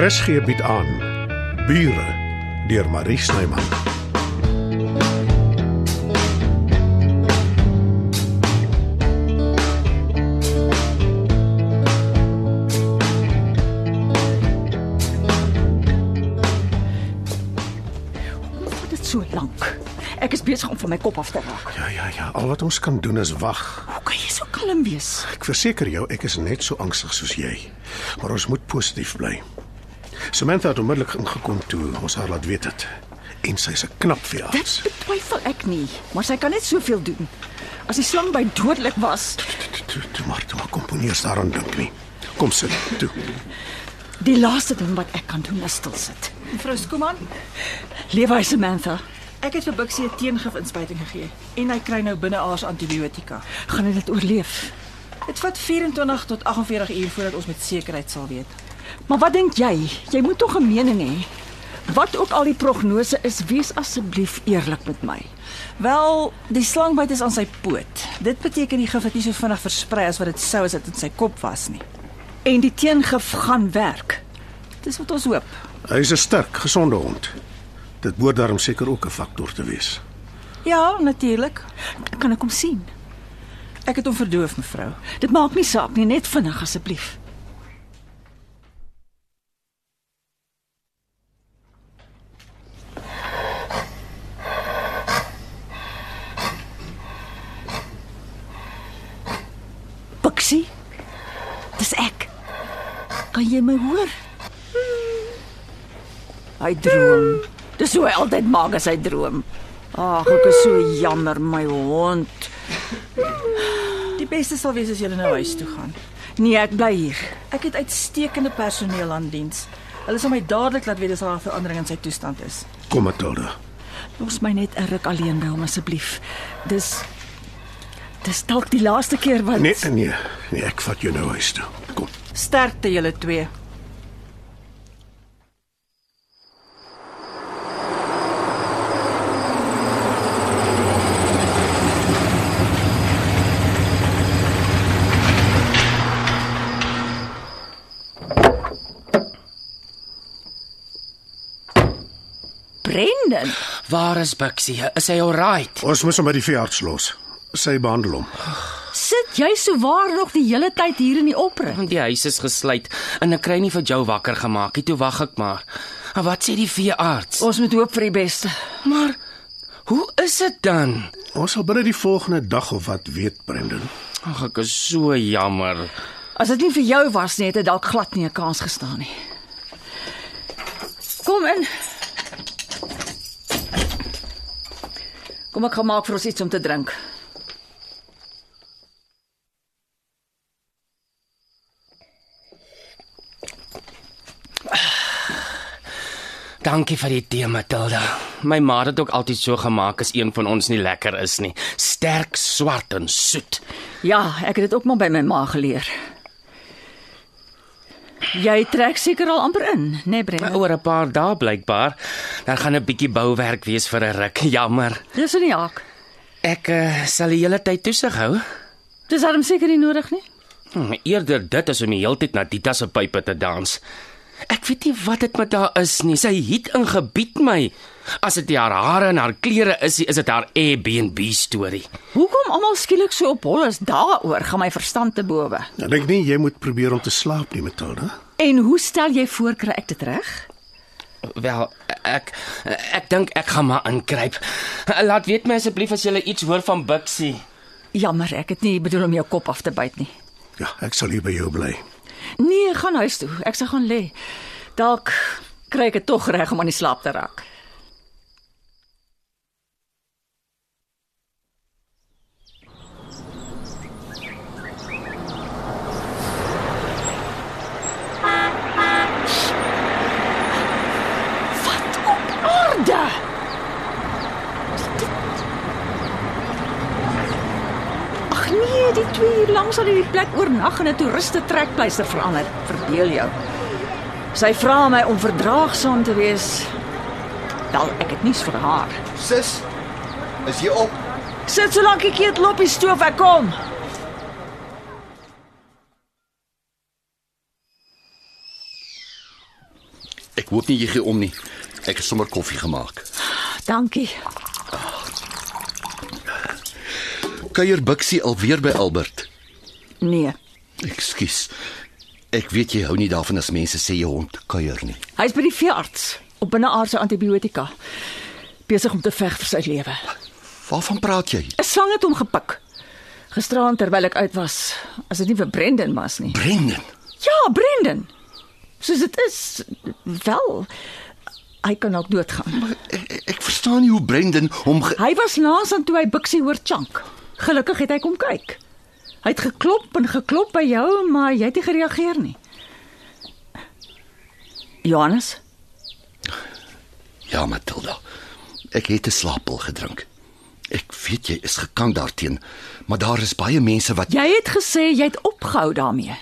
RSG bied aan Bure deur Marie Snyman. Wat dit so lank. Ek is besig om van my kop af te raak. Ja ja ja, al wat ons kan doen is wag. Hoe kan jy so kalm wees? Ek verseker jou, ek is net so angstig soos jy. Maar ons moet positief bly. Samantha het onmiddellik ingekom toe ons haar laat weet het. En sy's 'n knap Dit veearts. betwyfel ek nie, maar sy kan net soveel doen. As die slang by dodelik was, Toe, toe, Maar toe maar komponeers daaraan dink nie. Kom sit toe. die laaste ding wat ek kan doen is stil sit. Mevrou Skuman, Lewe hy Samantha. ek het vir Bixie 'n teengif-inspuiting gegee en hy kry nou binneaars antibiotika. Gaan hy dit oorleef? Dit vat 24 tot 48 uur voordat ons met sekerheid sal weet. Maar wat dink jy? Jy moet tog 'n mening hê. Wat ook al die prognose is, wees asseblief eerlik met my. Wel, die slangbyt is aan sy poot. Dit beteken die gif het nie so vinnig versprei as wat dit sou as dit in sy kop was nie. En die teengif gaan werk. Dis wat ons hoop. Hy's 'n sterk, gesonde hond. Dit behoort daarom seker ook 'n faktor te wees. Ja, natuurlik. Kan ek hom sien? Ek het hom verdoof, mevrou. Dit maak nie saak nie, net vinnig asseblief. Bixie, dis ek. Kan jy my hoor? Hy droom. Dis hoe hy altyd maak as hy droom. Ag, ek is so jammer my hond. Die beste sal wees as jy nou huis toe gaan. Nee, ek bly hier. Ek het uitstekende personeel aan diens. Hulle sal my dadelik laat weet as daar 'n verandering in sy toestand is. Kom Matilda. Los my net 'n ruk alleen by hom asseblief. Dis Dis dalk die laaste keer wat Nee, nee, nee, ek vat jou nou huis toe. Kom. Sterkte julle twee. Brendan. Waar is Bixie? Is hy alright? Ons moet hom by die veearts los. Sy behandel hom. Sit jy souwaar nog die hele tyd hier in die opre? Die huis is gesluit en ek kry nie vir jou wakker gemaak nie. Toe wag ek maar. En wat sê die veearts? Ons moet hoop vir die beste. Maar hoe is dit dan? Ons sal binne die volgende dag of wat weet, Brendan. Ag ek is so jammer. As dit nie vir jou was nie, het hy dalk glad nie 'n kans gestaan nie. Kom in. Kom ek gaan maak vir ons iets om te drink. Dankie vir die tee, Matilda. My ma het dit ook altyd so gemaak as een van ons nie lekker is nie. Sterk, swart en soet. Ja, ek het dit ook maar by my ma geleer. Jy trek seker al amper in, né, nee, Maar Brenna? Oor 'n paar dae blykbaar, daar gaan 'n bietjie bouwerk wees vir 'n ruk. Jammer. Dis in die haak. Ek uh, sal die hele tyd toesig hou. Dis darem seker nie nodig nie. Hm, eerder dit as om die hele tyd na Dita se pype te dans. Ek weet nie wat dit met haar is nie. Sy het ingebied my. As dit nie haar hare en haar klere is, nie, is dit haar Airbnb storie. Hoekom almal skielik so op hol is daaroor, gaan my verstand te bowe. Nou, Ek dink nie jy moet probeer om te slaap nie, Matilda. En hoe stel jy voor kry ek dit reg? Wel, ek ek dink ek gaan maar inkruip. Laat weet my asseblief as jy iets hoor van Bixie. Jammer, ek het nie bedoel om jou kop af te byt nie. Ja, ek sal hier by jou bly. Nee, gaan huis toe. Ek sal gaan lê. Dalk kry ek dit tog reg om aan die slaap te raak. Wat op aarde? Ag nee, die twee hier langs aan hierdie plek oornag in 'n toeriste trekpleister verander. Verbeel jou. Sy vra my om verdraagsaam te wees. Wel, ek het nuus vir haar. Sis, is jy op? Sit so lank ek eet loppie stoof ek kom. Ek hoop nie jy gee om nie. Ek het sommer koffie gemaak. Dankie. Kuier Bixie alweer by Albert. Nee. Ekskuus. Ek weet jy hou nie daarvan as mense sê jou hond kuier nie. Hy's by die veearts op binneaardse antibiotika. Besig om te veg vir sy lewe. Waarvan praat jy? 'n Slang het hom gepik. Gisteraand terwyl ek uit was, as dit nie vir Brendan was nie. Brendan. Ja, Brendan. Soos dit is wel hy kan ook doodgaan. Ek, ek verstaan nie hoe Brendan hom ge... Hy was naas aan toe hy biksie hoor chunk. Gelukkig het hy kom kyk. Hy het geklop en geklop by jou, maar jy het nie gereageer nie. Johannes, Ja, Matilda. Ek het 'n slaappil gedrink. Ek weet jy is gekant daarteen, maar daar is baie mense wat jy het gesê jy het opgehou daarmee.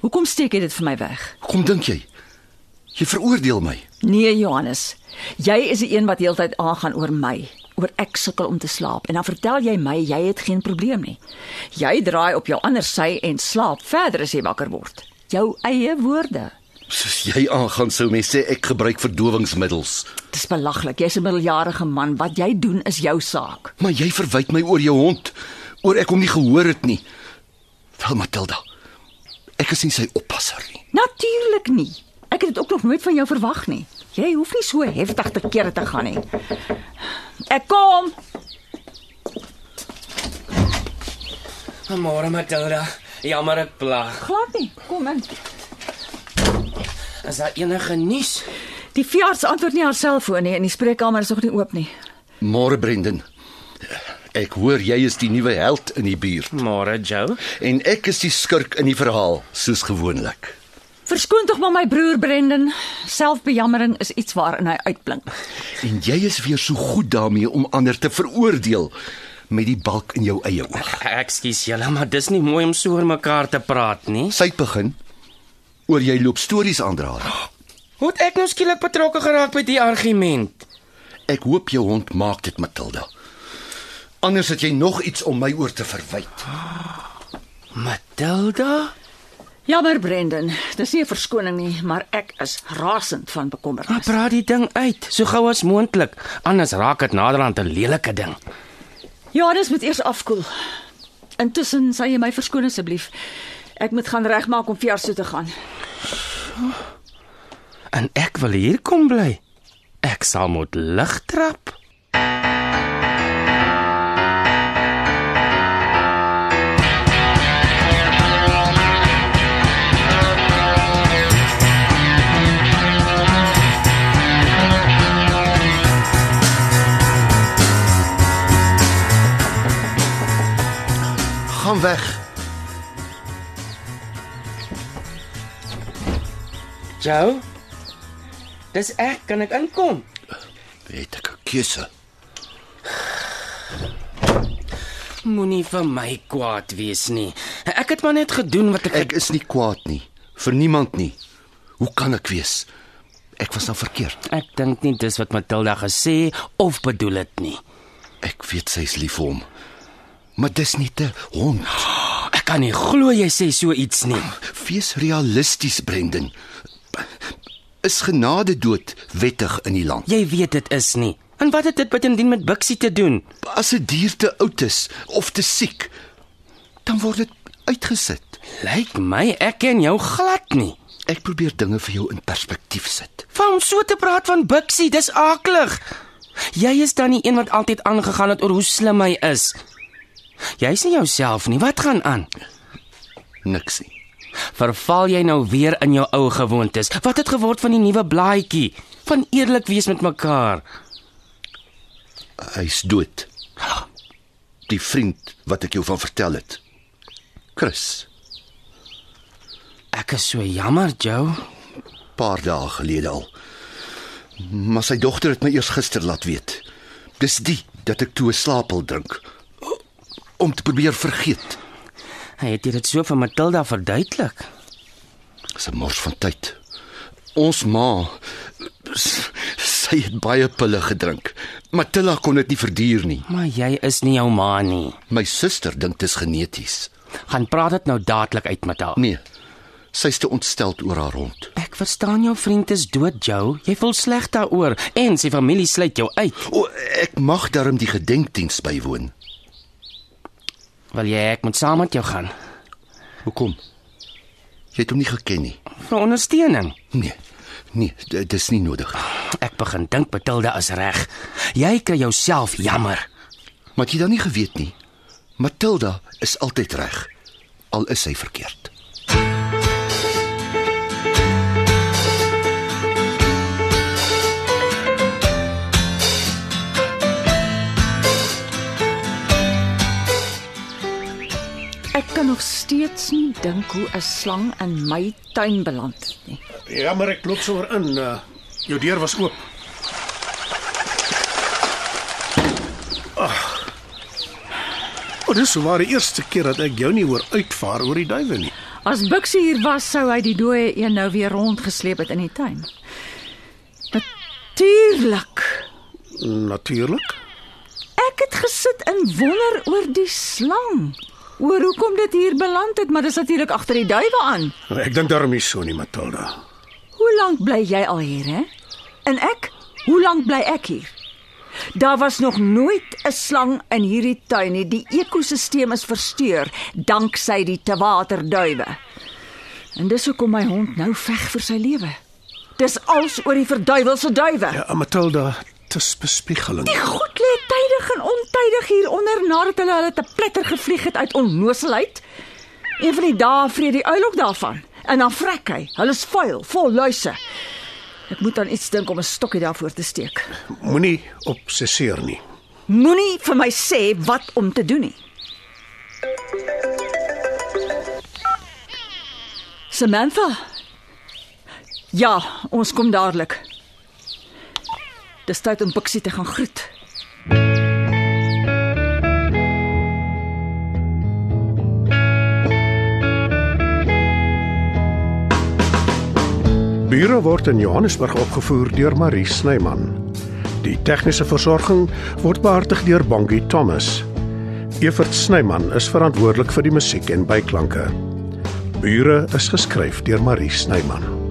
Hoekom steek jy dit vir my weg? Kom dink jy? Jy veroordeel my. Nee, Johannes. Jy is die een wat heeltyd aangaan oor my, oor ek sukkel om te slaap en dan vertel jy my jy het geen probleem nie. Jy draai op jou ander sy en slaap verder as jy wakker word. Jou eie woorde. Soos jy aangaan sou mens sê ek gebruik verdowingsmiddels, Dis belaglik. Jy's 'n middeljarige man. Wat jy doen is jou saak. maar jy verwyd my oor jou hond, oor ek hom nie gehoor het nie. Wel Matilda, ek is nie sy oppasser nie. Natuurlik nie. Ek het dit ook nog nooit van jou verwag nie. Jy hoef nie so heftig te kere te gaan nie. Ek kom. Môre Matilda. Jammer ek plag. Glad nie. Kom in. Is daar enige nuus? Die veearts antwoord nie haar selfoon nie en die spreekkamer is nog nie oop nie. Môre Brendan. Ek hoor jy is die nuwe held in die buurt Môre Joe. en ek is die skurk in die verhaal, soos gewoonlik. Verskoon tog maar my broer Brendan. Selfbejammering is iets waarin hy uitblink. En jy is weer so goed daarmee om ander te veroordeel met die balk in jou eie oog. Ekskuus julle, maar dis nie mooi om so oor mekaar te praat nie. Sy het begin oor jy loop stories aandraal. Hoe het ek nou skielik betrokke geraak by die argument? Ek hoop jou hond maak dit, Matilda. Anders het jy nog iets om my oor te verwyd. Matilda? Jammer Brendan, dis nie 'n verskoning nie, maar ek is rasend van Maar bekommernis. praat die ding uit, so gou as moontlik, anders raak dit naderhand 'n lelike ding. Johannes Ja, moet eers afkoel. Intussen sal jy my verskoon asseblief. Ek moet gaan regmaak om vars toe te gaan. En ek wil hier kom bly. Ek sal moet lig trap. Gaan weg. Jou? Dis ek, kan ek inkom? Het ek 'n keuse? Moenie vir my kwaad wees nie. Ek het maar net gedoen wat ek, Ek is nie kwaad nie vir niemand nie. Hoe kan ek wees? Ek was nou verkeerd. ek dink nie dis wat Matilda gesê of bedoel het nie. Ek weet sy is lief vir hom. Maar dis nie 'n hond. Ek kan nie glo jy sê so iets nie. Wees realisties, Brendan. Is genade dood wettig in die land? Jy weet dit is nie. En wat het dit bytendien met Bixie te doen? As 'n dier te oud is of te siek, dan word dit uitgesit. Lyk my ek ken jou glad nie. Ek probeer dinge vir jou in perspektief sit. Van om so te praat van Bixie, dis aklig. Jy is dan die een wat altyd aangegaan het oor hoe slim hy is. Jy's nie jouself nie. Wat gaan aan? Niks nie. Verval jy nou weer in jou ou gewoontes? Wat het geword van die nuwe blaadjie? Van eerlik wees met mekaar. Hy's dood. Die vriend wat ek jou van vertel het. Chris, Ek is so jammer, Joe. paar dae gelede al. Maar sy dogter het my eers gister laat weet. Dis die dat ek toe 'n slaapel drink om te probeer vergeet. Hy het dit so vir Matilda verduidelik. Dis 'n mors van tyd. Ons ma s- sy het baie pille gedrink. Matilda kon dit nie verduur nie. Maar jy is nie jou ma nie. My suster dink dit is geneties. Gaan praat dit nou dadelik uit met haar. Nee. Sy's te ontsteld oor haar hond. Ek Ek verstaan jou vriend is dood, Joe. Jy voel sleg daaroor en sy familie sluit jou uit. O, ek mag darm die gedenkdiens bywoon. Wil jy ek moet saam met jou gaan Hoekom? Jy het hom nie geken nie. vir ondersteuning? Nee. Nee, d- dis nie nodig. Ek begin dink Matilda is reg. Jy kry jouself jammer. Maar het jy dan nie geweet nie. Matilda is altyd reg, al is sy verkeerd. Ek kan nog steeds nie dink hoe 'n slang in my tuin beland het nie. Ja, maar ek klop sommer in. Uh, jou deur was oop. Ag. Oh, dis sou maar die eerste keer dat ek jou nie hoor uitvaar oor die duwe nie. As Buxie hier was, sou hy die dooie een nou weer rondgesleep het in die tuin. Natuurlik. Natuurlik. Ek het gesit en wonder oor die slang. Oor hoekom dit hier beland het, maar dis natuurlik agter die duwe aan. Nou, Ek dink daarom nie so nie, Matilda. Hoe lank bly jy al hier, hè? En ek? Hoe lank bly ek hier? Daar was nog nooit 'n slang in hierdie tuin nie. Die ekosisteem is versteur danksy die tewaterduwe. En dis hoekom my hond nou veg vir sy lewe. Dis als oor die verduiwelse duwe. Ja, Matilda, dis bespiegeling. Die goed lê tydig en ontydig hier onder nadat hulle hulle te pletter gevlieg het uit onnoselheid. Een van die dae vreet die uil ook daarvan en dan vrek hy. Hulle is vuil, vol luise. Ek moet aan iets dink om 'n stokkie daarvoor te steek. Moenie obsesseer nie. Moenie vir my sê wat om te doen nie. Samantha. Ja, ons kom dadelik. Dis tyd om Pixie te gaan groet. Bure word in Johannesburg opgevoer deur Marie Snyman. Die tegniese versorging word behartig deur Bongie Thomas. Evert Snyman is verantwoordelik vir die musiek en byklanke. Bure is geskryf deur Marie Snyman.